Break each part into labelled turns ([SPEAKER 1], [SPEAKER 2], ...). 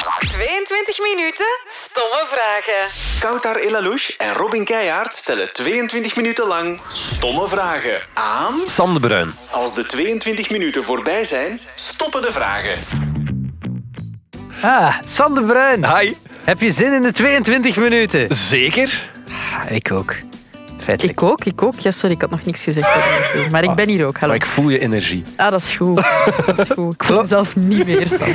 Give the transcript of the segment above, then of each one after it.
[SPEAKER 1] In 20 minuten stomme vragen.
[SPEAKER 2] Koutar Elalouche en Robin Keijaard stellen 22 minuten lang stomme vragen aan.
[SPEAKER 3] Sam de Bruin.
[SPEAKER 2] Als de 22 minuten voorbij zijn, stoppen de vragen.
[SPEAKER 4] Ah, Sam de Bruin.
[SPEAKER 3] Hi.
[SPEAKER 4] Heb je zin in de 22 minuten?
[SPEAKER 3] Zeker?
[SPEAKER 4] Ah, ik ook. Feitelijk.
[SPEAKER 5] Ik ook, ik ook. Ja, sorry, ik had nog niks gezegd. Ah, Maar ik ben hier ook. Hallo.
[SPEAKER 3] Maar ik voel je energie.
[SPEAKER 5] Ah, dat is goed. Dat is goed. Ik voel mezelf niet meer. Sam.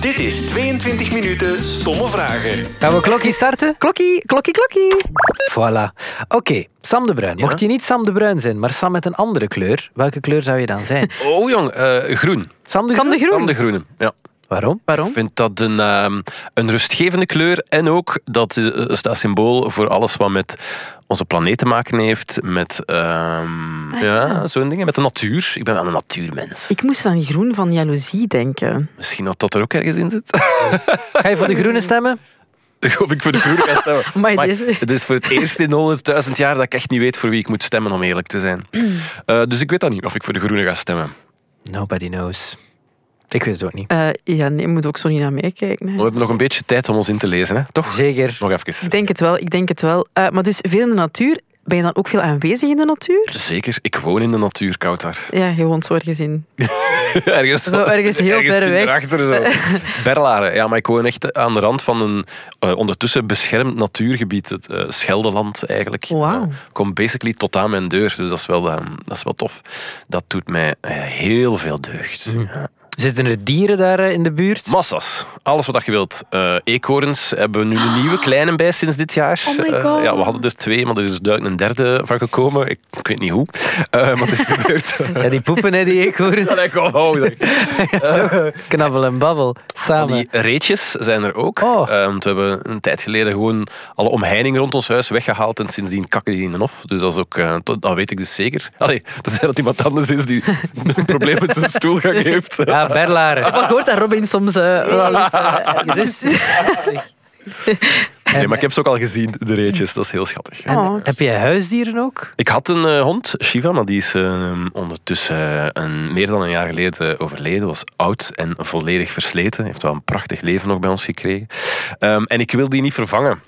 [SPEAKER 2] Dit is 22 minuten stomme vragen.
[SPEAKER 4] Gaan we klokje starten?
[SPEAKER 5] Klokkie, klokkie, klokkie.
[SPEAKER 4] Voilà. Oké, Sam de Bruin. Mocht je niet Sam de Bruin zijn, maar Sam met een andere kleur, welke kleur zou je dan zijn?
[SPEAKER 3] Oh jong, eh, groen.
[SPEAKER 4] Sam de
[SPEAKER 5] Sam de
[SPEAKER 4] Groen?
[SPEAKER 3] Sam
[SPEAKER 5] Groen.
[SPEAKER 3] de Groene. Ja.
[SPEAKER 4] Waarom?
[SPEAKER 3] Ik
[SPEAKER 5] Waarom?
[SPEAKER 3] vind dat een, ehm, een rustgevende kleur. En ook dat eh, staat symbool voor alles wat met onze planeet te maken heeft. Met ehm, ja. zo'n dingen. Met de natuur. Ik ben wel een natuurmens.
[SPEAKER 5] Ik moest aan groen van jaloezie denken.
[SPEAKER 3] Misschien dat dat er ook ergens in zit.
[SPEAKER 4] Ga je voor de groene stemmen?
[SPEAKER 3] Ik hoop ik voor de groene ga stemmen.
[SPEAKER 5] Amai,
[SPEAKER 3] Maar
[SPEAKER 5] deze.
[SPEAKER 3] het is voor het eerst in 100.000 jaar dat ik echt niet weet voor wie ik moet stemmen, om eerlijk te zijn. Eh, dus ik weet dat niet, of ik voor de groene ga stemmen.
[SPEAKER 4] Nobody knows. Ik weet het ook niet.
[SPEAKER 5] Eh, ja, nee, je moet ook zo niet naar mij kijken.
[SPEAKER 3] We
[SPEAKER 5] hè.
[SPEAKER 3] hebben nog een beetje tijd om ons in te lezen, hè? toch?
[SPEAKER 4] Zeker.
[SPEAKER 3] Nog even.
[SPEAKER 5] Ik denk het wel, ik denk het wel. Eh, maar dus veel in de natuur. Ben je dan ook veel aanwezig in de natuur?
[SPEAKER 3] Zeker, ik woon in de natuur, Koutar.
[SPEAKER 5] Ja, je woont zo ergens in.
[SPEAKER 3] Ergens,
[SPEAKER 5] Zo ergens heel ver weg.
[SPEAKER 3] Achter, zo. Berlaren, ja, maar ik woon echt aan de rand van een eh, ondertussen beschermd natuurgebied, het eh, Scheldeland eigenlijk.
[SPEAKER 5] Wauw.
[SPEAKER 3] Eh, komt basically tot aan mijn deur, dus dat is wel, eh, dat is wel tof. Dat doet mij eh, heel veel deugd. Ja.
[SPEAKER 4] Zitten er dieren daar eh, in de buurt?
[SPEAKER 3] Massas, alles wat dat je wilt. Eh eekhoorns hebben we nu een nieuwe kleine bij sinds dit jaar.
[SPEAKER 5] Oh my
[SPEAKER 3] Eh,
[SPEAKER 5] God.
[SPEAKER 3] ja, we hadden er twee, maar er is duidelijk een derde van gekomen. Ik, ik weet niet hoe, Eh, maar het is gebeurd.
[SPEAKER 4] Ja, die poepen, hè, die ik hoor.
[SPEAKER 3] Allee, kom, hou je.
[SPEAKER 4] Knabbel en babbel.
[SPEAKER 3] Al
[SPEAKER 4] Samen.
[SPEAKER 3] die reetjes zijn er ook.
[SPEAKER 4] Oh.
[SPEAKER 3] Eh, want we hebben een tijd geleden gewoon alle omheining rond ons huis weggehaald en sindsdien kakken die in de hof. Dus dat is ook, eh, tot- dat weet ik dus zeker. Allee, tenzij dat iemand anders is die een probleem met zijn stoelgang heeft.
[SPEAKER 4] Ja, Berlaren. dus-
[SPEAKER 5] Ik hoort dat Robin soms eh, wel eens, eh,
[SPEAKER 4] Rustig.
[SPEAKER 3] Nee, maar ik heb ze ook al gezien, de reetjes. Dat is heel schattig.
[SPEAKER 4] En
[SPEAKER 5] Oh.
[SPEAKER 4] heb jij huisdieren ook?
[SPEAKER 3] Ik had een eh, hond, Shiva, maar die is eh, ondertussen eh, een, meer dan een jaar geleden overleden. Was oud en volledig versleten. Heeft wel een prachtig leven nog bij ons gekregen. Ehm, en ik wil die niet vervangen.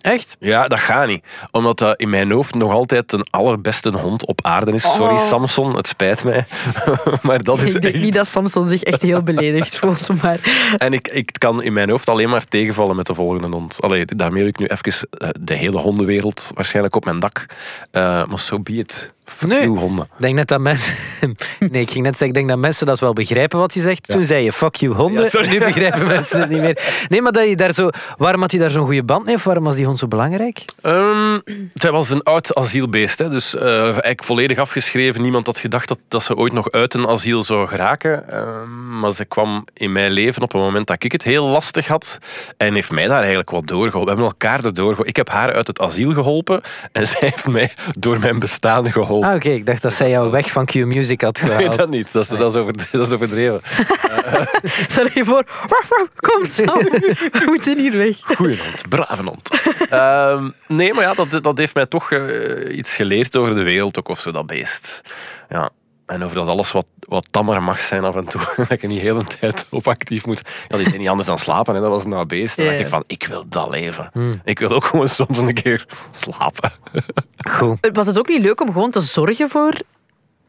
[SPEAKER 4] Echt?
[SPEAKER 3] Ja, dat gaat niet. Omdat dat in mijn hoofd nog altijd de allerbeste hond op aarde is. Sorry,
[SPEAKER 5] Oh.
[SPEAKER 3] Samson, het spijt mij. maar dat is
[SPEAKER 5] Ik denk
[SPEAKER 3] echt-
[SPEAKER 5] niet dat Samson zich echt heel beledigd voelt, maar...
[SPEAKER 3] En ik, ik kan in mijn hoofd alleen maar tegenvallen met de volgende hond. Allee, daarmee heb ik nu even eh, de hele hondenwereld waarschijnlijk op mijn dak. Eh, maar zo so be it. Fuck
[SPEAKER 4] Nee.
[SPEAKER 3] you, honden.
[SPEAKER 4] Ik denk net dat mensen. Nee, ik ging net zeggen, ik denk dat mensen dat wel begrijpen wat je zegt. Toen zei je fuck you honden.
[SPEAKER 3] Ja, sorry.
[SPEAKER 4] nu begrijpen mensen het niet meer. Nee, maar dat je daar zo. Waarom had hij daar zo'n goede band mee? Of waarom was die hond zo belangrijk?
[SPEAKER 3] Ehm, zij was een oud asielbeest, hè, dus eh, eigenlijk volledig afgeschreven. Niemand had gedacht dat, dat ze ooit nog uit een asiel zou geraken. Ehm, maar ze kwam in mijn leven op een moment dat ik het heel lastig had. En heeft mij daar eigenlijk wat doorgeholpen. We hebben elkaar erdoor geholpen. Ik heb haar uit het asiel geholpen. En zij heeft mij door mijn bestaan geholpen.
[SPEAKER 4] Ah, oké, ik dacht dat zij jou weg van Q Music had
[SPEAKER 3] Nee,
[SPEAKER 4] gehaald.
[SPEAKER 3] dat niet. Dat is, dat is, overd- dat is overdreven.
[SPEAKER 5] Stel je voor, waf, waf, kom Sam, we moeten hier weg.
[SPEAKER 3] Goeie hond, brave hond. Ehm, nee, maar ja, dat, dat heeft mij toch eh, iets geleerd over de wereld ook of zo, dat beest. Ja. En over dat alles wat, wat tammer mag zijn af en toe. dat je niet de hele tijd op actief moet. Ja, die deed niet anders dan slapen. Hè. Dat was een oud beest. Dan
[SPEAKER 5] Ja.
[SPEAKER 3] dacht ik van, ik wil dat leven. Ik wil ook gewoon soms een keer slapen.
[SPEAKER 4] Goed.
[SPEAKER 5] Eh, Was het ook niet leuk om gewoon te zorgen voor...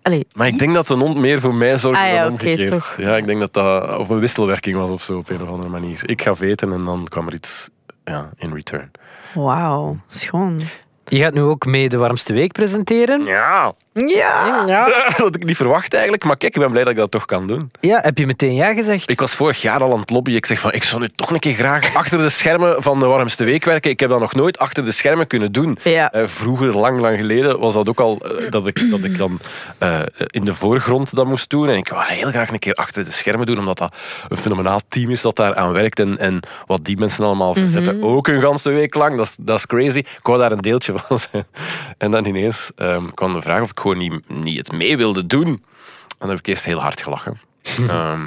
[SPEAKER 5] Allee,
[SPEAKER 3] Maar ik
[SPEAKER 5] iets?
[SPEAKER 3] denk dat een hond meer voor mij zorgde
[SPEAKER 5] Ah ja,
[SPEAKER 3] dan
[SPEAKER 5] oké,
[SPEAKER 3] omgekeerd.
[SPEAKER 5] toch.
[SPEAKER 3] Ja, ik denk dat dat of een wisselwerking was of zo op een of andere manier. Ik gaf eten en dan kwam er iets ja, in return.
[SPEAKER 5] Wauw, schoon.
[SPEAKER 4] Je gaat nu ook mee de warmste week presenteren.
[SPEAKER 3] Ja,
[SPEAKER 5] Ja!
[SPEAKER 3] Dat had ik niet verwacht eigenlijk, maar kijk, ik ben blij dat ik dat toch kan doen.
[SPEAKER 4] Ja, heb je meteen ja gezegd?
[SPEAKER 3] Ik was vorig jaar al aan het lobbyen. Ik zeg van, ik zou nu toch een keer graag achter de schermen van de warmste week werken. Ik heb dat nog nooit achter de schermen kunnen doen.
[SPEAKER 5] Ja.
[SPEAKER 3] Eh, vroeger, lang, lang geleden, was dat ook al eh, dat, ik, dat ik dan eh, in de voorgrond dat moest doen. En ik wou heel graag een keer achter de schermen doen, omdat dat een fenomenaal team is dat daar aan werkt. En, en wat die mensen allemaal verzetten, ook een ganse week lang, dat is, dat is crazy. Ik wou daar een deeltje van zijn. En dan ineens ehm, kwam de vraag of ik gewoon niet, niet het mee wilde doen. En dan heb ik eerst heel hard gelachen. Ehm,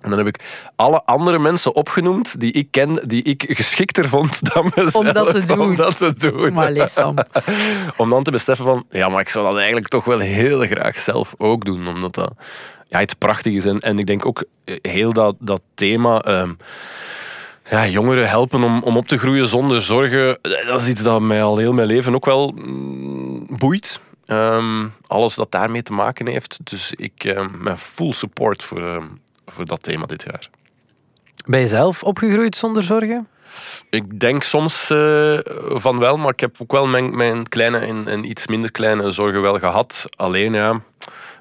[SPEAKER 3] en dan heb ik alle andere mensen opgenoemd die ik ken, die ik geschikter vond dan mezelf.
[SPEAKER 5] dat te doen.
[SPEAKER 3] Om dat te doen.
[SPEAKER 5] Maar allee, Sam.
[SPEAKER 3] Om dan te beseffen van, ja, maar ik zou dat eigenlijk toch wel heel graag zelf ook doen. Omdat dat ja, iets prachtig is. En, en ik denk ook eh, heel dat, dat thema... ehm, ja, jongeren helpen om, om op te groeien zonder zorgen. eh, Dat is iets dat mij al heel mijn leven ook wel mm, boeit. Ehm, alles dat daarmee te maken heeft. Dus ik ehm, ben full support voor, ehm, voor dat thema dit jaar.
[SPEAKER 4] Ben je zelf opgegroeid zonder zorgen?
[SPEAKER 3] Ik denk soms eh, van wel, maar ik heb ook wel mijn, mijn kleine en, en iets minder kleine zorgen wel gehad. Alleen ja,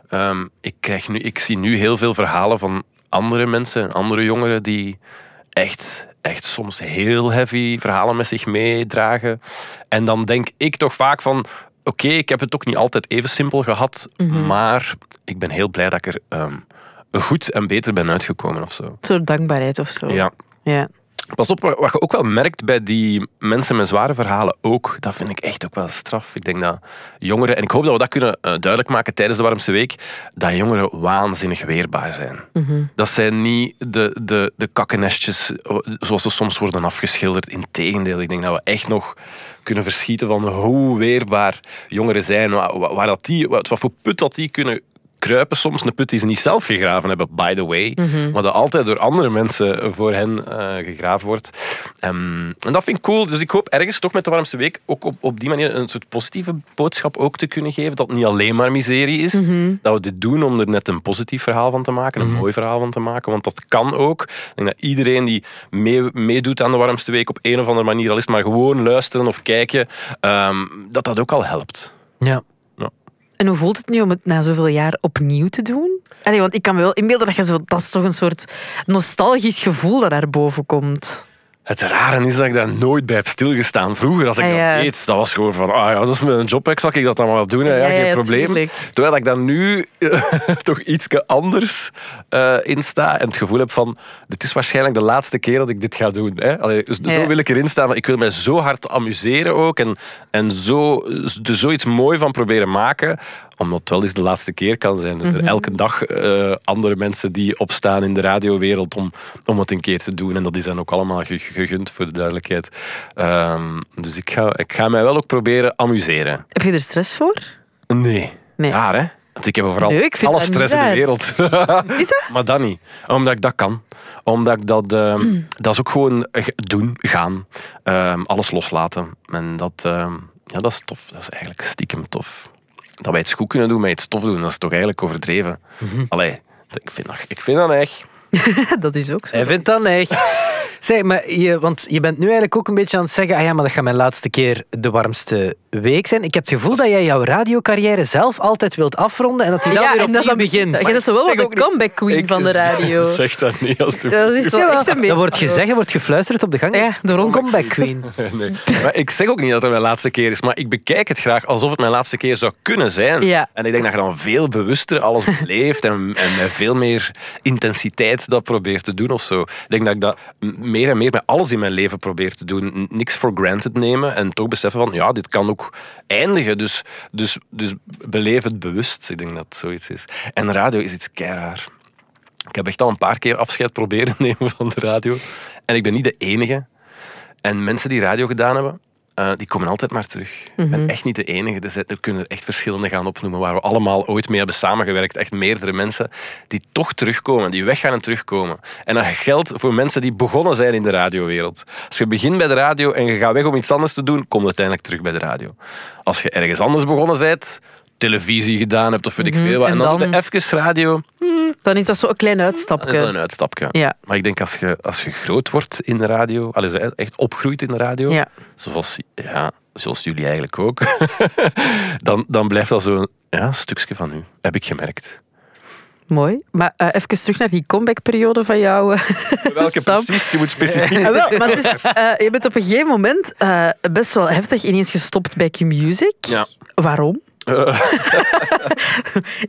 [SPEAKER 3] ehm, ik, krijg nu, ik zie nu heel veel verhalen van andere mensen, andere jongeren die echt, echt soms heel heavy verhalen met zich meedragen. En dan denk ik toch vaak van, oké, ik heb het ook niet altijd even simpel gehad, maar ik ben heel blij dat ik er ehm, goed en beter ben uitgekomen of zo.
[SPEAKER 5] Een soort dankbaarheid of zo.
[SPEAKER 3] Ja.
[SPEAKER 5] ja.
[SPEAKER 3] Pas op, wat je ook wel merkt bij die mensen met zware verhalen ook, dat vind ik echt ook wel straf. Ik denk dat jongeren, en ik hoop dat we dat kunnen eh, duidelijk maken tijdens de Warmste Week, dat jongeren waanzinnig weerbaar zijn. Dat zijn niet de, de, de kakkenestjes eh, zoals ze soms worden afgeschilderd. Integendeel, ik denk dat we echt nog kunnen verschieten van hoe weerbaar jongeren zijn, wa- wa- waar, dat die, wat, wat voor put dat die kunnen kruipen soms een put die ze niet zelf gegraven hebben, by the way, maar dat altijd door andere mensen voor hen eh, gegraven wordt. Ehm, en dat vind ik cool. Dus ik hoop ergens toch met de Warmste Week ook op, op die manier een soort positieve boodschap ook te kunnen geven, dat het niet alleen maar miserie is, dat we dit doen om er net een positief verhaal van te maken, een mooi verhaal van te maken, want dat kan ook. Ik denk dat iedereen die mee, meedoet aan de Warmste Week op een of andere manier, al is het maar gewoon luisteren of kijken, ehm, dat dat ook al helpt.
[SPEAKER 4] Ja.
[SPEAKER 5] En hoe voelt het nu om het na zoveel jaar opnieuw te doen? Allee, want ik kan me wel inbeelden dat je zo... Dat is toch een soort nostalgisch gevoel dat naar boven komt.
[SPEAKER 3] Het rare is dat ik daar nooit bij heb stilgestaan. Vroeger, als ik
[SPEAKER 5] Ah, ja.
[SPEAKER 3] dat deed, dat was gewoon van, ah ja, dat is mijn job, hè, zal ik dat dan wel doen, hè, ja,
[SPEAKER 5] Ja,
[SPEAKER 3] geen
[SPEAKER 5] ja,
[SPEAKER 3] probleem.
[SPEAKER 5] tuurlijk.
[SPEAKER 3] Terwijl ik daar nu eh, toch iets anders eh, in sta en het gevoel heb van, dit is waarschijnlijk de laatste keer dat ik dit ga doen. Hè? Allee, dus
[SPEAKER 5] Ja.
[SPEAKER 3] Zo wil ik erin staan, want ik wil mij zo hard amuseren ook en, en zo, er zoiets mooi van proberen maken, omdat het wel eens de laatste keer kan zijn. Dus er Elke dag eh, andere mensen die opstaan in de radiowereld om, om het een keer te doen. En dat is dan ook allemaal ge- gegund, voor de duidelijkheid. Ehm, dus ik ga, ik ga mij wel ook proberen amuseren.
[SPEAKER 5] Heb je er stress voor?
[SPEAKER 3] Nee.
[SPEAKER 5] Nee.
[SPEAKER 3] Raar, hè? Want ik heb overal
[SPEAKER 5] Nee, ik vind
[SPEAKER 3] alle
[SPEAKER 5] dat niet
[SPEAKER 3] stress in de
[SPEAKER 5] raar.
[SPEAKER 3] wereld.
[SPEAKER 5] Is dat?
[SPEAKER 3] maar dat niet. Omdat ik dat kan. Omdat ik dat... ehm, Dat is ook gewoon eh, doen, gaan. Ehm, alles loslaten. En dat, ehm, ja, dat is tof. Dat is eigenlijk stiekem tof. Dat wij iets goed kunnen doen, maar iets tof doen, dat is toch eigenlijk overdreven. Allee, ik vind dat, ik vind dat echt...
[SPEAKER 5] dat is ook zo.
[SPEAKER 4] Hij vindt dat echt. Zeg, maar je, want je bent nu eigenlijk ook een beetje aan het zeggen, ah ja, maar dat gaat mijn laatste keer de warmste week zijn. Ik heb het gevoel dat jij jouw radiocarrière zelf altijd wilt afronden en dat die dan weer opnieuw begint.
[SPEAKER 5] Je bent zo wel
[SPEAKER 3] zeg
[SPEAKER 5] wat
[SPEAKER 3] ook
[SPEAKER 5] de
[SPEAKER 3] niet-
[SPEAKER 5] comeback queen
[SPEAKER 3] Ik
[SPEAKER 5] van de radio.
[SPEAKER 3] Zeg dat niet, alsjeblieft.
[SPEAKER 5] Dat is wel echt een beetje...
[SPEAKER 4] Dat wordt gezegd, er wordt gefluisterd op de gang.
[SPEAKER 5] Ja, door ons.
[SPEAKER 4] Comeback queen.
[SPEAKER 3] Nee. Maar ik zeg ook niet dat het mijn laatste keer is, maar ik bekijk het graag alsof het mijn laatste keer zou kunnen zijn.
[SPEAKER 5] Ja.
[SPEAKER 3] En ik denk dat je dan veel bewuster alles beleeft en, en met veel meer intensiteit dat probeert te doen of zo. Ik denk dat ik dat m- meer en meer met alles in mijn leven probeer te doen. N- Niks voor granted nemen en toch beseffen van, ja, dit kan ook eindigen. Dus, dus, dus beleef het bewust. Ik denk dat het zoiets is. En radio is iets keiraar. Ik heb echt al een paar keer afscheid proberen nemen van de radio. En ik ben niet de enige. En mensen die radio gedaan hebben, eh, die komen altijd maar terug.
[SPEAKER 5] Mhm.
[SPEAKER 3] Ik ben echt niet de enige. Er, zijn- er kunnen er echt verschillende gaan opnoemen waar we allemaal ooit mee hebben samengewerkt. Echt meerdere mensen die toch terugkomen, die weggaan en terugkomen. En dat geldt voor mensen die begonnen zijn in de radiowereld. Als je begint bij de radio en je gaat weg om iets anders te doen, kom je uiteindelijk terug bij de radio. Als je ergens anders begonnen bent, televisie gedaan hebt of weet ik veel wat, en
[SPEAKER 5] Mhm. en
[SPEAKER 3] dan, doe
[SPEAKER 5] dan-
[SPEAKER 3] je even radio,
[SPEAKER 5] Dan is dat zo'n klein
[SPEAKER 3] dat is wel een
[SPEAKER 5] uitstapje.
[SPEAKER 3] uitstapje.
[SPEAKER 5] Ja.
[SPEAKER 3] Maar ik denk als je, als je groot wordt in de radio, allee, zo echt opgroeit in de radio,
[SPEAKER 5] Ja.
[SPEAKER 3] zoals, ja, zoals jullie eigenlijk ook, dan, dan blijft dat zo'n ja, stukje van u, heb ik gemerkt.
[SPEAKER 5] Mooi. Maar eh, even terug naar die comebackperiode van jou. eh.
[SPEAKER 3] Welke
[SPEAKER 5] Stap.
[SPEAKER 3] precies? Je moet specifiek
[SPEAKER 5] Ah, wel, maar dus, eh, je bent op een gegeven moment eh, best wel heftig ineens gestopt bij Q-Music.
[SPEAKER 3] Ja. Eh.
[SPEAKER 5] Waarom?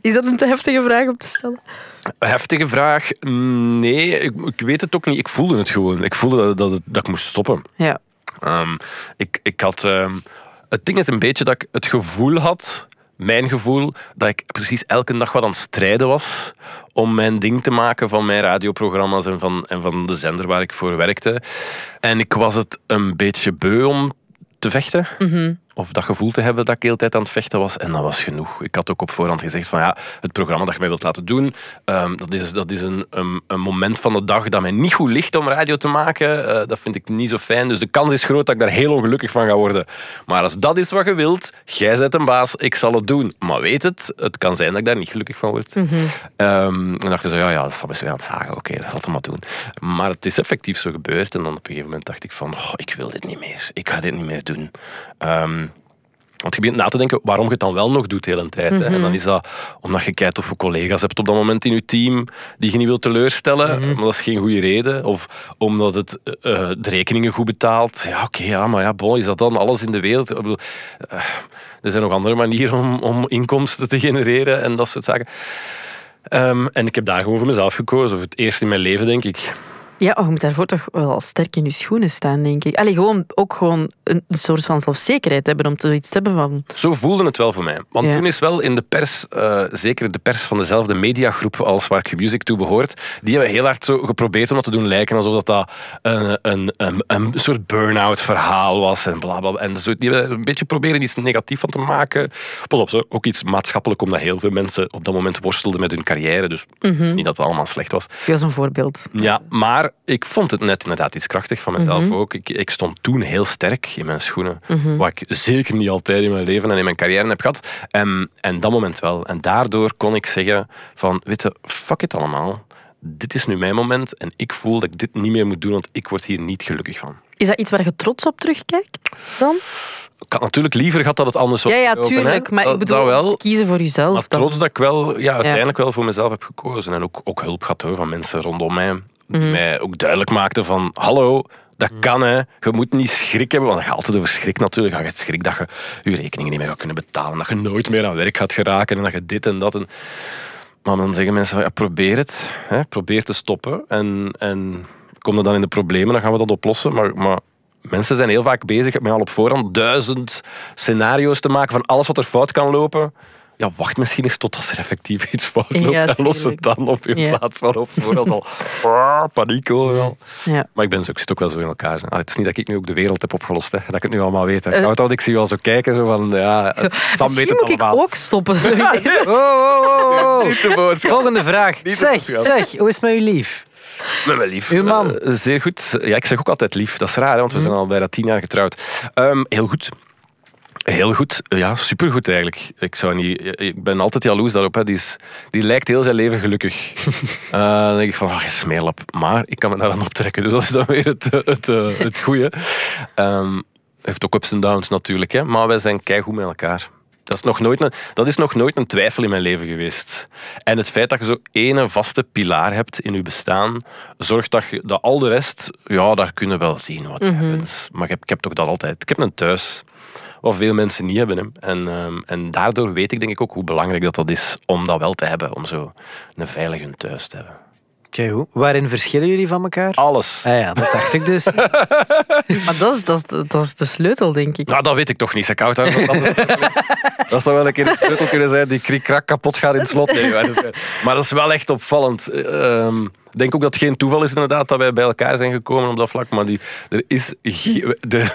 [SPEAKER 5] Is dat een te heftige vraag om te stellen?
[SPEAKER 3] Heftige vraag. Mm, Nee, ik, ik weet het ook niet. Ik voelde het gewoon. Ik voelde dat, dat, het- dat ik moest stoppen.
[SPEAKER 5] Ja.
[SPEAKER 3] Ehm, ik, ik had, ehm, het ding is een beetje dat ik het gevoel had, mijn gevoel, dat ik precies elke dag wat aan het strijden was om mijn ding te maken van mijn radioprogramma's en van, en van de zender waar ik voor werkte. En ik was het een beetje beu om te vechten. of dat gevoel te hebben dat ik de hele tijd aan het vechten was. En dat was genoeg. Ik had ook op voorhand gezegd van ja, het programma dat je mij wilt laten doen, ehm, dat is, dat is een, een, een moment van de dag dat mij niet goed ligt om radio te maken. Eh, dat vind ik niet zo fijn. Dus de kans is groot dat ik daar heel ongelukkig van ga worden. Maar als dat is wat je wilt, jij bent een baas, ik zal het doen. Maar weet het, het kan zijn dat ik daar niet gelukkig van word. Ehm, en dachten ze, ja, ja, dat is best weer aan het zagen. Oké, dat zal het maar doen. Maar het is effectief zo gebeurd. En dan op een gegeven moment dacht ik van, "Goh, ik wil dit niet meer. Ik ga dit niet meer doen. Ehm, want je begint na te denken waarom je het dan wel nog doet de hele tijd. hè. En dan is dat omdat je kijkt of je collega's hebt op dat moment in je team die je niet wilt teleurstellen. Maar dat is geen goede reden. Of omdat het eh, eh, de rekeningen goed betaalt. Ja, oké, ja, maar ja, bon, is dat dan alles in de wereld? Ik bedoel, eh, er zijn nog andere manieren om, om inkomsten te genereren en dat soort zaken. Ehm, en ik heb daar gewoon voor mezelf gekozen. Voor het eerst in mijn leven, denk ik.
[SPEAKER 5] Ja, oh, je moet daarvoor toch wel al sterk in je schoenen staan, denk ik. Allee, gewoon ook gewoon een, een soort van zelfzekerheid hebben om zoiets te hebben van...
[SPEAKER 3] Zo voelde het wel voor mij. Want
[SPEAKER 5] Ja.
[SPEAKER 3] toen is wel in de pers, eh, zeker de pers van dezelfde mediagroep als waar Q Music toe behoort, die hebben heel hard zo geprobeerd om dat te doen lijken alsof dat, dat een, een, een, een soort burn-out verhaal was en bla bla. bla. En zo, die hebben een beetje proberen iets negatiefs van te maken. Pas op, zo, ook iets maatschappelijk, omdat heel veel mensen op dat moment worstelden met hun carrière. Dus het is niet dat het allemaal slecht was.
[SPEAKER 5] Dat is een voorbeeld.
[SPEAKER 3] Ja, maar ik vond het net inderdaad iets krachtig van mezelf
[SPEAKER 5] Mhm.
[SPEAKER 3] ook. Ik, ik stond toen heel sterk in mijn schoenen. Wat ik zeker niet altijd in mijn leven en in mijn carrière heb gehad. En, en dat moment wel. En daardoor kon ik zeggen van, weet je, fuck it allemaal. Dit is nu mijn moment en ik voel dat ik dit niet meer moet doen, want ik word hier niet gelukkig van.
[SPEAKER 5] Is dat iets waar je trots op terugkijkt dan?
[SPEAKER 3] Ik had natuurlijk liever gehad dat het anders was
[SPEAKER 5] Ja, ja,
[SPEAKER 3] gelopen, hè.
[SPEAKER 5] tuurlijk. Maar
[SPEAKER 3] Dat-
[SPEAKER 5] ik bedoel,
[SPEAKER 3] dat wel.
[SPEAKER 5] kiezen voor jezelf.
[SPEAKER 3] Maar
[SPEAKER 5] dan.
[SPEAKER 3] trots dat ik wel, ja, uiteindelijk wel voor mezelf heb gekozen. En ook, ook hulp gehad hoor, van mensen rondom mij. Die mij ook duidelijk maakten van, hallo, dat kan hè. Je moet niet schrik hebben, want dat gaat altijd over schrik natuurlijk. Je hebt schrik dat je je rekeningen niet meer gaat kunnen betalen. Dat je nooit meer aan werk gaat geraken. En dat je dit en dat. En... Maar dan zeggen mensen van, ja, probeer het. Hè. Probeer te stoppen. En, en kom er dan in de problemen, dan gaan we dat oplossen. Maar... maar Mensen zijn heel vaak bezig met al op voorhand duizend scenario's te maken van alles wat er fout kan lopen. Ja, wacht misschien eens totdat er effectief iets fout
[SPEAKER 5] Ja,
[SPEAKER 3] loopt en los het
[SPEAKER 5] tuurlijk.
[SPEAKER 3] dan op in
[SPEAKER 5] Ja.
[SPEAKER 3] plaats van op voorhand al brrr, paniek overal.
[SPEAKER 5] Ja.
[SPEAKER 3] Maar ik, ben zo, ik zit ook wel zo in elkaar. Allee, het is niet dat ik nu ook de wereld heb opgelost, hè, dat ik het nu allemaal weet. hè. Oud, oud, ik zie wel zo kijken, zo van, ja, het- Sam weet
[SPEAKER 5] Eh. Misschien
[SPEAKER 3] het
[SPEAKER 5] moet ik
[SPEAKER 3] allemaal.
[SPEAKER 5] ook stoppen. zo.
[SPEAKER 4] Oh, oh, oh, oh.
[SPEAKER 3] Niet de boodschap.
[SPEAKER 4] Volgende vraag.
[SPEAKER 3] Niet te
[SPEAKER 4] Zeg,
[SPEAKER 3] verschaffen.
[SPEAKER 4] zeg, hoe is het met uw lief?
[SPEAKER 3] Met mijn lief.
[SPEAKER 4] Uw man. Hm?
[SPEAKER 3] Eh, zeer goed. Ja, ik zeg ook altijd lief. Dat is raar, hè, want we zijn al bijna tien jaar getrouwd. Ehm, heel goed. Heel goed. Eh, Ja, supergoed eigenlijk. Ik, zou niet, ik ben altijd jaloers daarop. Hè. Die, is, die lijkt heel zijn leven gelukkig. Eh, dan denk ik van, ach, je smeerlap. Maar ik kan me daaraan optrekken. Dus dat is dan weer het, eh, het, eh, het goede. Ehm, heeft ook ups en downs natuurlijk. Hè. Maar wij zijn keigoed met elkaar. Dat is, nog nooit een, dat is nog nooit een twijfel in mijn leven geweest. En het feit dat je zo ene vaste pilaar hebt in je bestaan, zorgt dat, je, dat al de rest, ja, daar kunnen we wel zien wat er happens. Maar ik heb, ik heb toch dat altijd. Ik heb een thuis, wat veel mensen niet hebben. Hè. En, ehm, en daardoor weet ik denk ik ook hoe belangrijk dat, dat is om dat wel te hebben, om zo een veilig een thuis te hebben.
[SPEAKER 4] Oké, hoe? waarin verschillen jullie van elkaar?
[SPEAKER 3] Alles.
[SPEAKER 4] Ah ja, dat dacht ik dus.
[SPEAKER 5] Maar dat is, dat, is, dat is de sleutel, denk ik.
[SPEAKER 3] Nou, dat weet ik toch niet. Ze koud houden. want anders- dat zou wel een keer een sleutel kunnen zijn die kriekrak kapot gaat in het slot. Nee, maar, dat is, maar dat is wel echt opvallend. Eh, ehm, Ik denk ook dat het geen toeval is inderdaad dat wij bij elkaar zijn gekomen op dat vlak. Maar die, er is ge- de,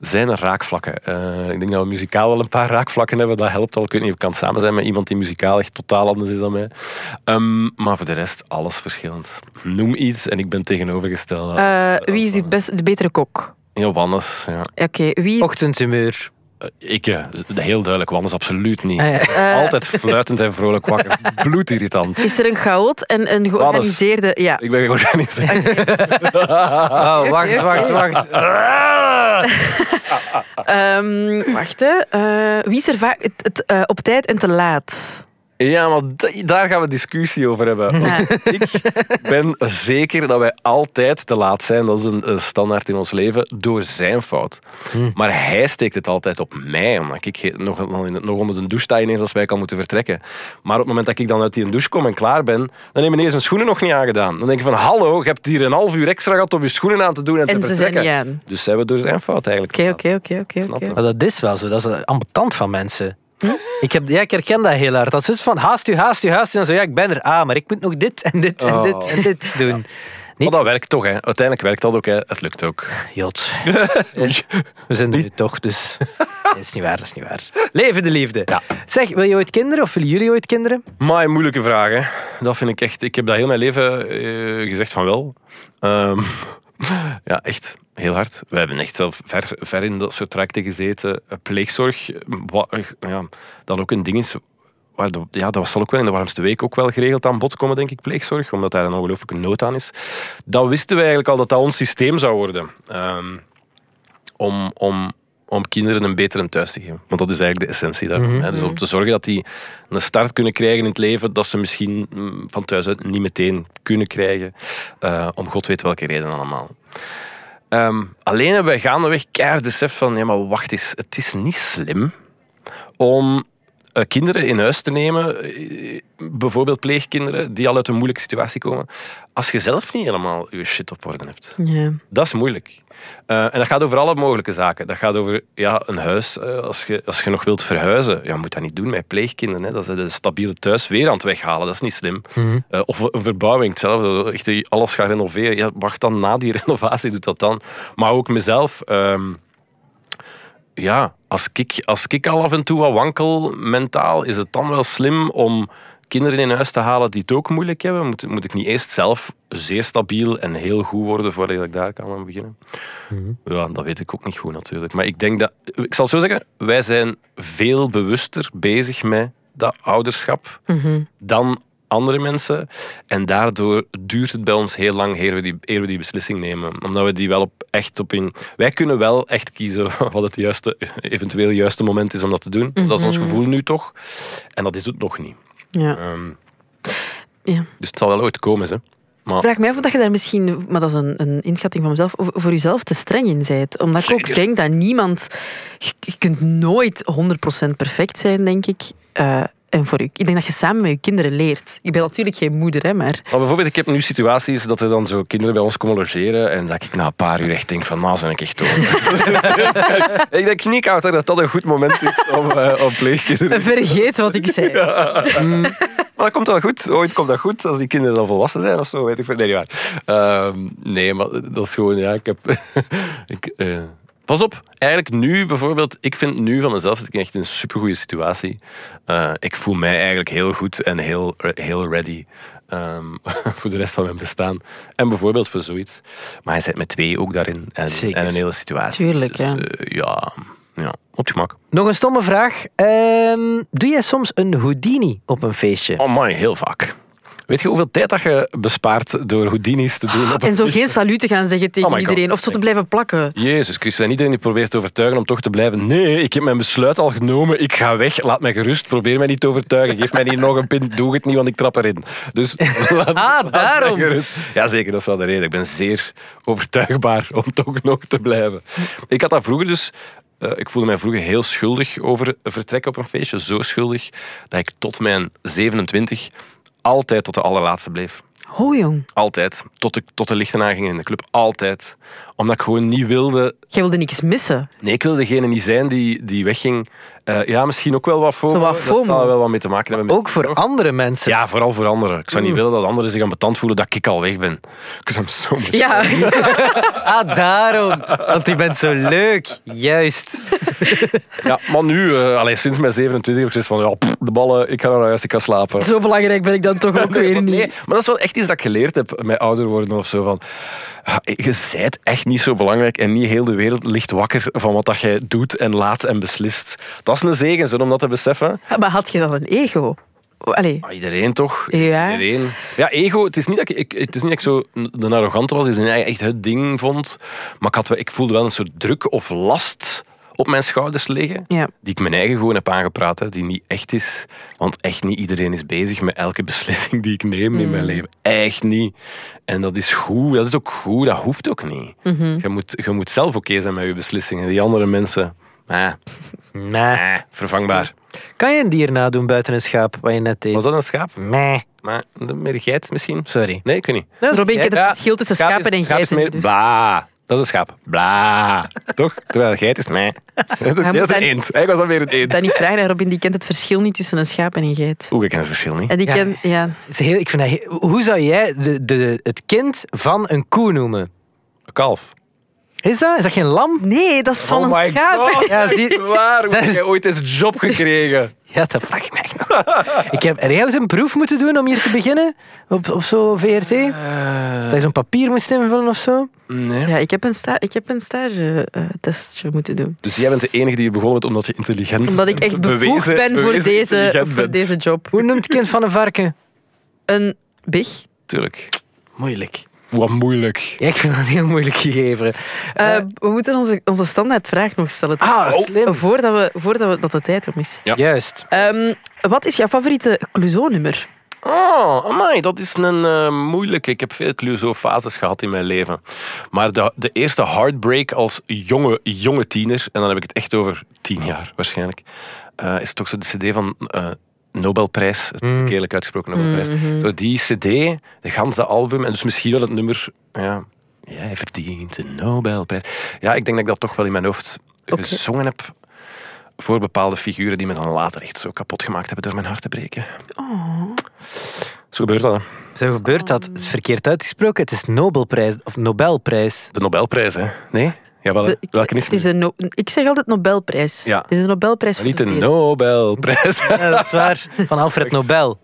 [SPEAKER 3] zijn er raakvlakken. Eh, ik denk dat we muzikaal wel een paar raakvlakken hebben. Dat helpt al. Ik weet niet, ik kan samen zijn met iemand die muzikaal echt totaal anders is dan mij. Ehm, maar voor de rest, alles verschillend. Noem iets en ik ben tegenovergesteld.
[SPEAKER 5] Eh, wie is de, best, de betere kok?
[SPEAKER 3] Johannes, ja.
[SPEAKER 5] Oké, wie...
[SPEAKER 4] Ochtendhumeur.
[SPEAKER 3] Ik, eh, heel duidelijk, Wannes, absoluut niet.
[SPEAKER 4] Ah, ja.
[SPEAKER 5] Eh,
[SPEAKER 3] Altijd fluitend en vrolijk wakker. Bloedirritant.
[SPEAKER 5] Is er een chaot en een georganiseerde... Ja.
[SPEAKER 3] Ik ben georganiseerd.
[SPEAKER 4] Oh, wacht, wacht, wacht.
[SPEAKER 5] Ehm, vaak. wie is er vaak het, het, eh, op tijd en te laat?
[SPEAKER 3] Ja, maar da- daar gaan we discussie over hebben. Want Ik ben zeker dat wij altijd te laat zijn. Dat is een, eh, standaard in ons leven. Door zijn fout. Maar hij steekt het altijd op mij. Omdat ik he- nog, nog onder de douche sta ineens als wij kan moeten vertrekken. Maar op het moment dat ik dan uit die douche kom en klaar ben, dan heeft meneer zijn schoenen nog niet aangedaan. Dan denk je van, hallo, je hebt hier een half uur extra gehad om je schoenen aan te doen en,
[SPEAKER 5] En
[SPEAKER 3] te
[SPEAKER 5] ze zijn
[SPEAKER 3] vertrekken.
[SPEAKER 5] niet aan.
[SPEAKER 3] Dus zijn we door zijn fout eigenlijk.
[SPEAKER 5] Oké, oké, oké, oké,
[SPEAKER 3] Snap
[SPEAKER 5] oké.
[SPEAKER 3] hem.
[SPEAKER 4] Maar dat is wel zo, dat is ambetant van mensen. Hm? Ik, heb, ja, ik herken dat heel hard. Dat
[SPEAKER 3] Oh.
[SPEAKER 4] is dus van haast u, haast u, haast u. En dan zo, ja, ik ben er. Ah, maar ik moet nog dit en dit en dit en dit doen. Niet?
[SPEAKER 3] Maar dat werkt toch, hè. Uiteindelijk werkt dat ook, hè. Het lukt ook.
[SPEAKER 4] Jot. We zijn er nu toch, dus... Dat is niet waar, dat is niet waar. Leven de liefde. Zeg, wil je ooit kinderen of willen jullie ooit kinderen?
[SPEAKER 3] Maar moeilijke vraag, hè. Dat vind ik echt... Ik heb dat heel mijn leven eh, gezegd van wel. Ehm, ja, echt. Heel hard. We hebben echt zelf ver, ver in dat soort trajecten gezeten. Eh, Pleegzorg, eh, wa- eh, ja, dat ook een ding is... Waar de- ja, dat zal ook wel in de warmste week ook wel geregeld aan bod komen, denk ik, pleegzorg. Omdat daar een ongelooflijke nood aan is. Dat wisten we eigenlijk al dat dat ons systeem zou worden. Ehm, om, om, om kinderen een betere thuis te geven. Want dat is eigenlijk de essentie daarvan. hè. Dus om te zorgen dat die een start kunnen krijgen in het leven dat ze misschien mm, van thuis uit niet meteen kunnen krijgen. eh, om god weet welke reden allemaal. Ehm, alleen hebben wij gaandeweg keihard besef van, ja maar wacht eens, het is niet slim om eh, kinderen in huis te nemen, eh, bijvoorbeeld pleegkinderen die al uit een moeilijke situatie komen, als je zelf niet helemaal je shit op orde hebt.
[SPEAKER 5] Ja.
[SPEAKER 3] Dat is moeilijk. Eh, en dat gaat over alle mogelijke zaken. Dat gaat over ja, een huis. eh, als, je, als je nog wilt verhuizen, ja, moet dat niet doen met pleegkinderen. Hè. Dat ze de stabiele thuis weer aan het weghalen. Dat is niet slim. Eh, of een verbouwing, hetzelfde. Echt eh, alles gaan renoveren. Ja, wacht dan na die renovatie, doet dat dan. Maar ook mezelf. ehm, ja, als ik, als ik al af en toe wat wankel mentaal, is het dan wel slim om kinderen in huis te halen die het ook moeilijk hebben? Moet, moet ik niet eerst zelf zeer stabiel en heel goed worden voordat ik daar kan aan beginnen? Ja, dat weet ik ook niet goed natuurlijk. Maar ik denk dat, ik zal het zo zeggen, wij zijn veel bewuster bezig met dat ouderschap dan andere mensen. En daardoor duurt het bij ons heel lang eer we die, eer we die beslissing nemen. Omdat we die wel op, echt op in... Wij kunnen wel echt kiezen wat het juiste, eventueel juiste moment is om dat te doen. Dat is ons gevoel nu toch. En dat is het nog niet.
[SPEAKER 5] ja.
[SPEAKER 3] Ehm,
[SPEAKER 5] ja.
[SPEAKER 3] dus het zal wel ooit komen, hè. Maar
[SPEAKER 5] Vraag mij af of dat je daar misschien, maar dat is een, een inschatting van mezelf, of voor jezelf te streng in bent. Omdat ik ook
[SPEAKER 3] Zeker.
[SPEAKER 5] denk dat niemand, je, je kunt nooit 100% perfect zijn, denk ik. Eh, en voor u, ik denk dat je samen met je kinderen leert. Ik ben natuurlijk geen moeder, hè, maar
[SPEAKER 3] Maar bijvoorbeeld, ik heb nu situaties dat er dan zo kinderen bij ons komen logeren en dat ik na een paar uur echt denk van, nou zijn ik echt dood. eh, ik denk niet, Wouter, dat dat een goed moment is om, eh, om pleegkinderen...
[SPEAKER 5] vergeet wat ik zei.
[SPEAKER 3] Maar dan komt dat goed. Ooit komt dat goed als die kinderen dan volwassen zijn of zo, weet ik veel. Nee, niet waar. Ehm, nee, maar dat is gewoon, ja, ik heb... ik, eh, Pas op, eigenlijk nu bijvoorbeeld, ik vind nu van mezelf dat ik echt in een supergoeie situatie. Eh, ik voel mij eigenlijk heel goed en heel, heel ready ehm, voor de rest van mijn bestaan. En bijvoorbeeld voor zoiets. Maar hij zit met twee ook daarin en,
[SPEAKER 4] Zeker.
[SPEAKER 3] en een hele situatie.
[SPEAKER 5] Tuurlijk, ja.
[SPEAKER 3] eh, ja, ja, op je gemak.
[SPEAKER 4] Nog een stomme vraag. Ehm, doe jij soms een Houdini op een feestje?
[SPEAKER 3] Oh man, heel vaak. Weet je hoeveel tijd dat je bespaart door Houdini's te doen? op een
[SPEAKER 5] En zo
[SPEAKER 3] feest?
[SPEAKER 5] geen saluut te gaan zeggen
[SPEAKER 3] Oh
[SPEAKER 5] tegen
[SPEAKER 3] my God.
[SPEAKER 5] iedereen, of zo te blijven plakken.
[SPEAKER 3] Jezus Christus, en iedereen die probeert te overtuigen om toch te blijven. Nee, ik heb mijn besluit al genomen. Ik ga weg. Laat mij gerust. Probeer mij niet te overtuigen. Geef mij niet nog een pin. Doe het niet, want ik trap erin. Dus laat, laat mij
[SPEAKER 4] Ah, daarom.
[SPEAKER 3] gerust. Jazeker, dat is wel de reden. Ik ben zeer overtuigbaar om toch nog te blijven. Ik had dat vroeger dus... eh, ik voelde mij vroeger heel schuldig over vertrekken op een feestje. Zo schuldig dat ik tot mijn 27 altijd tot de allerlaatste bleef.
[SPEAKER 5] Ho jong,
[SPEAKER 3] Altijd. Tot, ik, tot de lichten aangingen in de club. Altijd. Omdat ik gewoon niet wilde...
[SPEAKER 5] jij wilde niks missen.
[SPEAKER 3] Nee, ik wilde degene niet zijn die, die wegging. Eh, ja, misschien ook wel wat FOMO.
[SPEAKER 5] Zo wat FOMO.
[SPEAKER 3] Dat
[SPEAKER 5] Oh.
[SPEAKER 3] zal er wel wat mee te maken hebben. met-
[SPEAKER 4] Ook voor andere mensen.
[SPEAKER 3] Ja, vooral voor anderen. Ik zou
[SPEAKER 5] Mm.
[SPEAKER 3] niet willen dat anderen zich aan betand voelen dat ik al weg ben. Because I'm so much.
[SPEAKER 5] Ja,
[SPEAKER 4] Ah, daarom. Want je bent zo leuk. Juist.
[SPEAKER 3] Ja, maar nu, eh allee, sinds mijn 27 heb ik gezegd van, ja, pff, de ballen, ik ga naar huis, ik ga slapen.
[SPEAKER 5] zo belangrijk ben ik dan toch ook
[SPEAKER 3] Nee,
[SPEAKER 5] weer niet.
[SPEAKER 3] maar dat is wel echt iets dat ik geleerd heb met ouder worden of zo. Van, ah, je bent echt niet zo belangrijk en niet heel de wereld ligt wakker van wat dat jij doet en laat en beslist. Dat is een zegen, zo, om dat te beseffen.
[SPEAKER 5] Ah, Maar had je dan een ego? Allee,
[SPEAKER 3] Maar iedereen toch?
[SPEAKER 5] Ja.
[SPEAKER 3] Iedereen. Ja, ego. Het is niet dat ik, ik- het is niet dat ik zo de arrogante was, is echt het ding vond. Maar ik, had, wel- ik voelde wel een soort druk of last op mijn schouders liggen.
[SPEAKER 5] Ja.
[SPEAKER 3] Die ik mijn eigen gewoon heb aangepraat, hè, die niet echt is. Want echt niet iedereen is bezig met elke beslissing die ik neem in
[SPEAKER 5] Mm.
[SPEAKER 3] mijn leven. Echt niet. En dat is goed, dat is ook goed, dat hoeft ook niet.
[SPEAKER 5] Mhm.
[SPEAKER 3] je, moet, je moet zelf oké zijn met je beslissingen. Die andere mensen, ah,
[SPEAKER 4] Meh.
[SPEAKER 3] ah, vervangbaar.
[SPEAKER 4] Kan je een dier nadoen buiten een schaap, wat je net deed?
[SPEAKER 3] Was dat een schaap?
[SPEAKER 4] Meh.
[SPEAKER 3] Maar meer geit misschien?
[SPEAKER 4] Sorry.
[SPEAKER 3] Nee, ik weet niet.
[SPEAKER 5] Robin,
[SPEAKER 4] gek.
[SPEAKER 5] ik heb het verschil tussen schapen en
[SPEAKER 3] schaap is
[SPEAKER 5] geiten.
[SPEAKER 3] meer
[SPEAKER 5] dus.
[SPEAKER 3] bah. dat is een schaap. Bla. Toch? Terwijl een geit is meh. Dat
[SPEAKER 5] moet
[SPEAKER 3] is een
[SPEAKER 5] dan-
[SPEAKER 3] eend. Hij was alweer een eend.
[SPEAKER 5] Dan niet vragen naar Robin, die kent het verschil niet tussen een schaap en een geit.
[SPEAKER 3] Oeh, ik ken het verschil niet.
[SPEAKER 5] En die
[SPEAKER 4] Ja.
[SPEAKER 5] kent, ja.
[SPEAKER 4] Het is heel- ik vind dat heel- hoe zou jij de, de, het kind van een koe noemen?
[SPEAKER 3] Een kalf.
[SPEAKER 4] Is dat? Is dat geen lam?
[SPEAKER 5] Nee, dat is van
[SPEAKER 3] Oh
[SPEAKER 5] een
[SPEAKER 3] my
[SPEAKER 5] schaap.
[SPEAKER 3] god,
[SPEAKER 4] Ja,
[SPEAKER 3] dat
[SPEAKER 4] zie-
[SPEAKER 3] is waar. Hoe heb jij ooit eens een job gekregen?
[SPEAKER 4] Ja, dat vraag ik me echt nog. ik heb er eens een proef moeten doen om hier te beginnen. Op, op zo'n VRT.
[SPEAKER 3] Eh.
[SPEAKER 4] Dat je zo'n papier moest invullen of zo.
[SPEAKER 3] Nee.
[SPEAKER 5] Ja, ik heb een, sta ik heb een stage eh, testje moeten doen.
[SPEAKER 3] Dus jij bent de enige die hier begonnen bent omdat je intelligent bent.
[SPEAKER 5] Omdat ik echt bevoegd
[SPEAKER 3] Bewezen-
[SPEAKER 5] ben voor
[SPEAKER 3] bewezen
[SPEAKER 5] deze,
[SPEAKER 3] intelligent
[SPEAKER 5] voor
[SPEAKER 3] bent.
[SPEAKER 5] deze job.
[SPEAKER 4] Hoe noemt het kind van een varken?
[SPEAKER 5] Een big.
[SPEAKER 3] Tuurlijk.
[SPEAKER 4] Moeilijk.
[SPEAKER 3] Wat moeilijk.
[SPEAKER 4] Ja, ik vind dat een heel moeilijk gegeven.
[SPEAKER 5] Eh, we moeten onze, onze standaardvraag nog stellen.
[SPEAKER 4] Ah,
[SPEAKER 5] Oh,
[SPEAKER 4] slim.
[SPEAKER 5] Voordat, we, voordat we, dat de tijd om is.
[SPEAKER 3] Ja.
[SPEAKER 4] Juist.
[SPEAKER 5] Ehm, wat is jouw favoriete Clouseau-nummer?
[SPEAKER 3] Oh, amai, dat is een eh, moeilijke. Ik heb veel Clouseau-fases gehad in mijn leven. Maar de, de eerste heartbreak als jonge, jonge tiener, en dan heb ik het echt over tien jaar waarschijnlijk, eh, is toch zo de cd van eh, Nobelprijs, het verkeerlijk uitgesproken Nobelprijs. Zo die cd, de ganse album, en dus misschien wel het nummer... Ja, Jij verdient een Nobelprijs. Ja, ik denk dat ik dat toch wel in mijn hoofd gezongen heb voor bepaalde figuren die me dan later echt zo kapot gemaakt hebben door mijn hart te breken. Zo gebeurt dat. hè.
[SPEAKER 4] Zo gebeurt dat. Het is verkeerd uitgesproken. Het is Nobelprijs of Nobelprijs.
[SPEAKER 3] De Nobelprijs, hè? Nee? Ja, wel,
[SPEAKER 5] Ik-
[SPEAKER 3] welke is
[SPEAKER 5] het is
[SPEAKER 3] het?
[SPEAKER 5] een no- ik zeg altijd Nobelprijs.
[SPEAKER 3] Ja.
[SPEAKER 5] Het is een Nobelprijs voor
[SPEAKER 3] Niet de
[SPEAKER 5] vrede.
[SPEAKER 3] Nobelprijs.
[SPEAKER 4] Ja, dat is waar. Van Alfred Nobel.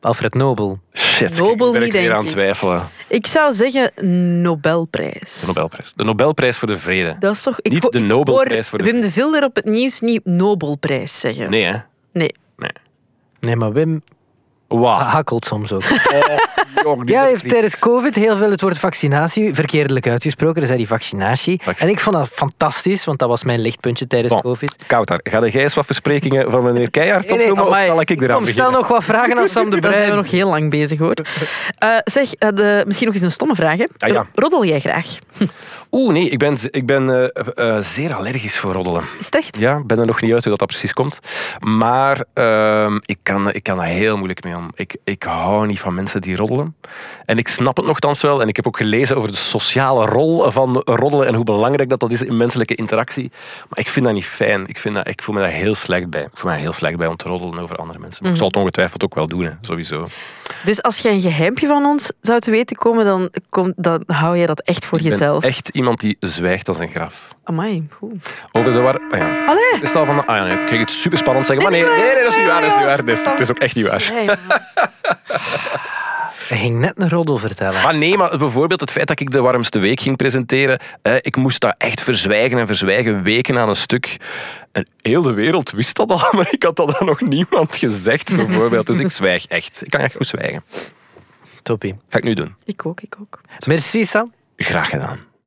[SPEAKER 4] Alfred Nobel.
[SPEAKER 3] Shit, kijk,
[SPEAKER 5] Nobel
[SPEAKER 3] ik ben
[SPEAKER 5] niet,
[SPEAKER 3] weer
[SPEAKER 5] denk
[SPEAKER 3] aan het
[SPEAKER 5] ik.
[SPEAKER 3] twijfelen.
[SPEAKER 5] Ik zou zeggen Nobelprijs.
[SPEAKER 3] De Nobelprijs. De Nobelprijs voor de vrede.
[SPEAKER 5] Dat is toch... Ik
[SPEAKER 3] Niet
[SPEAKER 5] ho-
[SPEAKER 3] de
[SPEAKER 5] ik
[SPEAKER 3] Nobelprijs
[SPEAKER 5] hoor
[SPEAKER 3] voor de-
[SPEAKER 5] Wim de Vilder op het nieuws niet Nobelprijs zeggen.
[SPEAKER 3] Nee, hè?
[SPEAKER 5] Nee.
[SPEAKER 3] Nee.
[SPEAKER 4] Nee, maar Wim
[SPEAKER 3] Wauw.
[SPEAKER 4] hakkelt soms ook.
[SPEAKER 3] jong, die is
[SPEAKER 4] Ja, hij
[SPEAKER 3] ook
[SPEAKER 4] heeft
[SPEAKER 3] kritisch.
[SPEAKER 4] tijdens COVID heel veel het woord vaccinatie verkeerdelijk uitgesproken. Dus zei die vaccinatie.
[SPEAKER 3] Vaccin-
[SPEAKER 4] En ik vond dat fantastisch, want dat was mijn lichtpuntje tijdens
[SPEAKER 3] Bon.
[SPEAKER 4] COVID.
[SPEAKER 3] Kouter, ga jij eens wat versprekingen van meneer Keijaard opnoemen of
[SPEAKER 4] amai.
[SPEAKER 3] zal ik eraan
[SPEAKER 4] Kom, stel
[SPEAKER 3] beginnen?
[SPEAKER 4] nog wat vragen aan Sam de
[SPEAKER 5] Daar zijn we
[SPEAKER 4] Bruin.
[SPEAKER 5] nog heel lang bezig, hoor. Eh, zeg, eh, de, misschien nog eens een stomme vraag, hè.
[SPEAKER 3] Ah, ja.
[SPEAKER 5] Roddel jij graag? nou-
[SPEAKER 3] Oeh, nee, ik ben, ik ben eh, eh, zeer allergisch voor roddelen.
[SPEAKER 5] Is het echt?
[SPEAKER 3] Ja, ik ben er nog niet uit hoe dat, dat precies komt. Maar ehm, ik, kan, ik kan daar heel moeilijk mee om. Ik, ik hou niet van mensen die roddelen. En ik snap het nogthans wel. En ik heb ook gelezen over de sociale rol van roddelen en hoe belangrijk dat, dat is in menselijke interactie. Maar ik vind dat niet fijn. Ik, vind dat, ik voel me daar heel slecht bij. Ik voel me daar heel slecht bij om te roddelen over andere mensen. Maar ik zal het ongetwijfeld ook wel doen, hè, sowieso.
[SPEAKER 5] Dus als jij een geheimpje van ons zou te weten komen, dan, kom, dan hou jij dat echt voor
[SPEAKER 3] Ik ben
[SPEAKER 5] jezelf.
[SPEAKER 3] echt iemand die zwijgt als een graf.
[SPEAKER 5] Amai, goed.
[SPEAKER 3] Over de war... Ah, ja.
[SPEAKER 5] Allee!
[SPEAKER 3] Het is al van... Ah ja, nee, ik kreeg het super spannend zeggen. Maar nee,
[SPEAKER 5] Nee,
[SPEAKER 3] nee,
[SPEAKER 5] nee,
[SPEAKER 3] nee, dat is niet waar. Dat is niet
[SPEAKER 5] nee,
[SPEAKER 3] waar. Nee, het is ook echt niet waar.
[SPEAKER 5] Nee,
[SPEAKER 4] Hij ging net een roddel vertellen.
[SPEAKER 3] Maar nee, maar bijvoorbeeld het feit dat ik de warmste week ging presenteren, eh, ik moest dat echt verzwijgen en verzwijgen, weken aan een stuk. En heel de wereld wist dat al, maar ik had dat aan nog niemand gezegd, bijvoorbeeld. Dus ik zwijg echt. Ik kan echt goed zwijgen.
[SPEAKER 4] Toppie.
[SPEAKER 3] Ga ik nu doen.
[SPEAKER 5] ik ook, ik ook.
[SPEAKER 4] Merci, Sam.
[SPEAKER 3] Graag gedaan.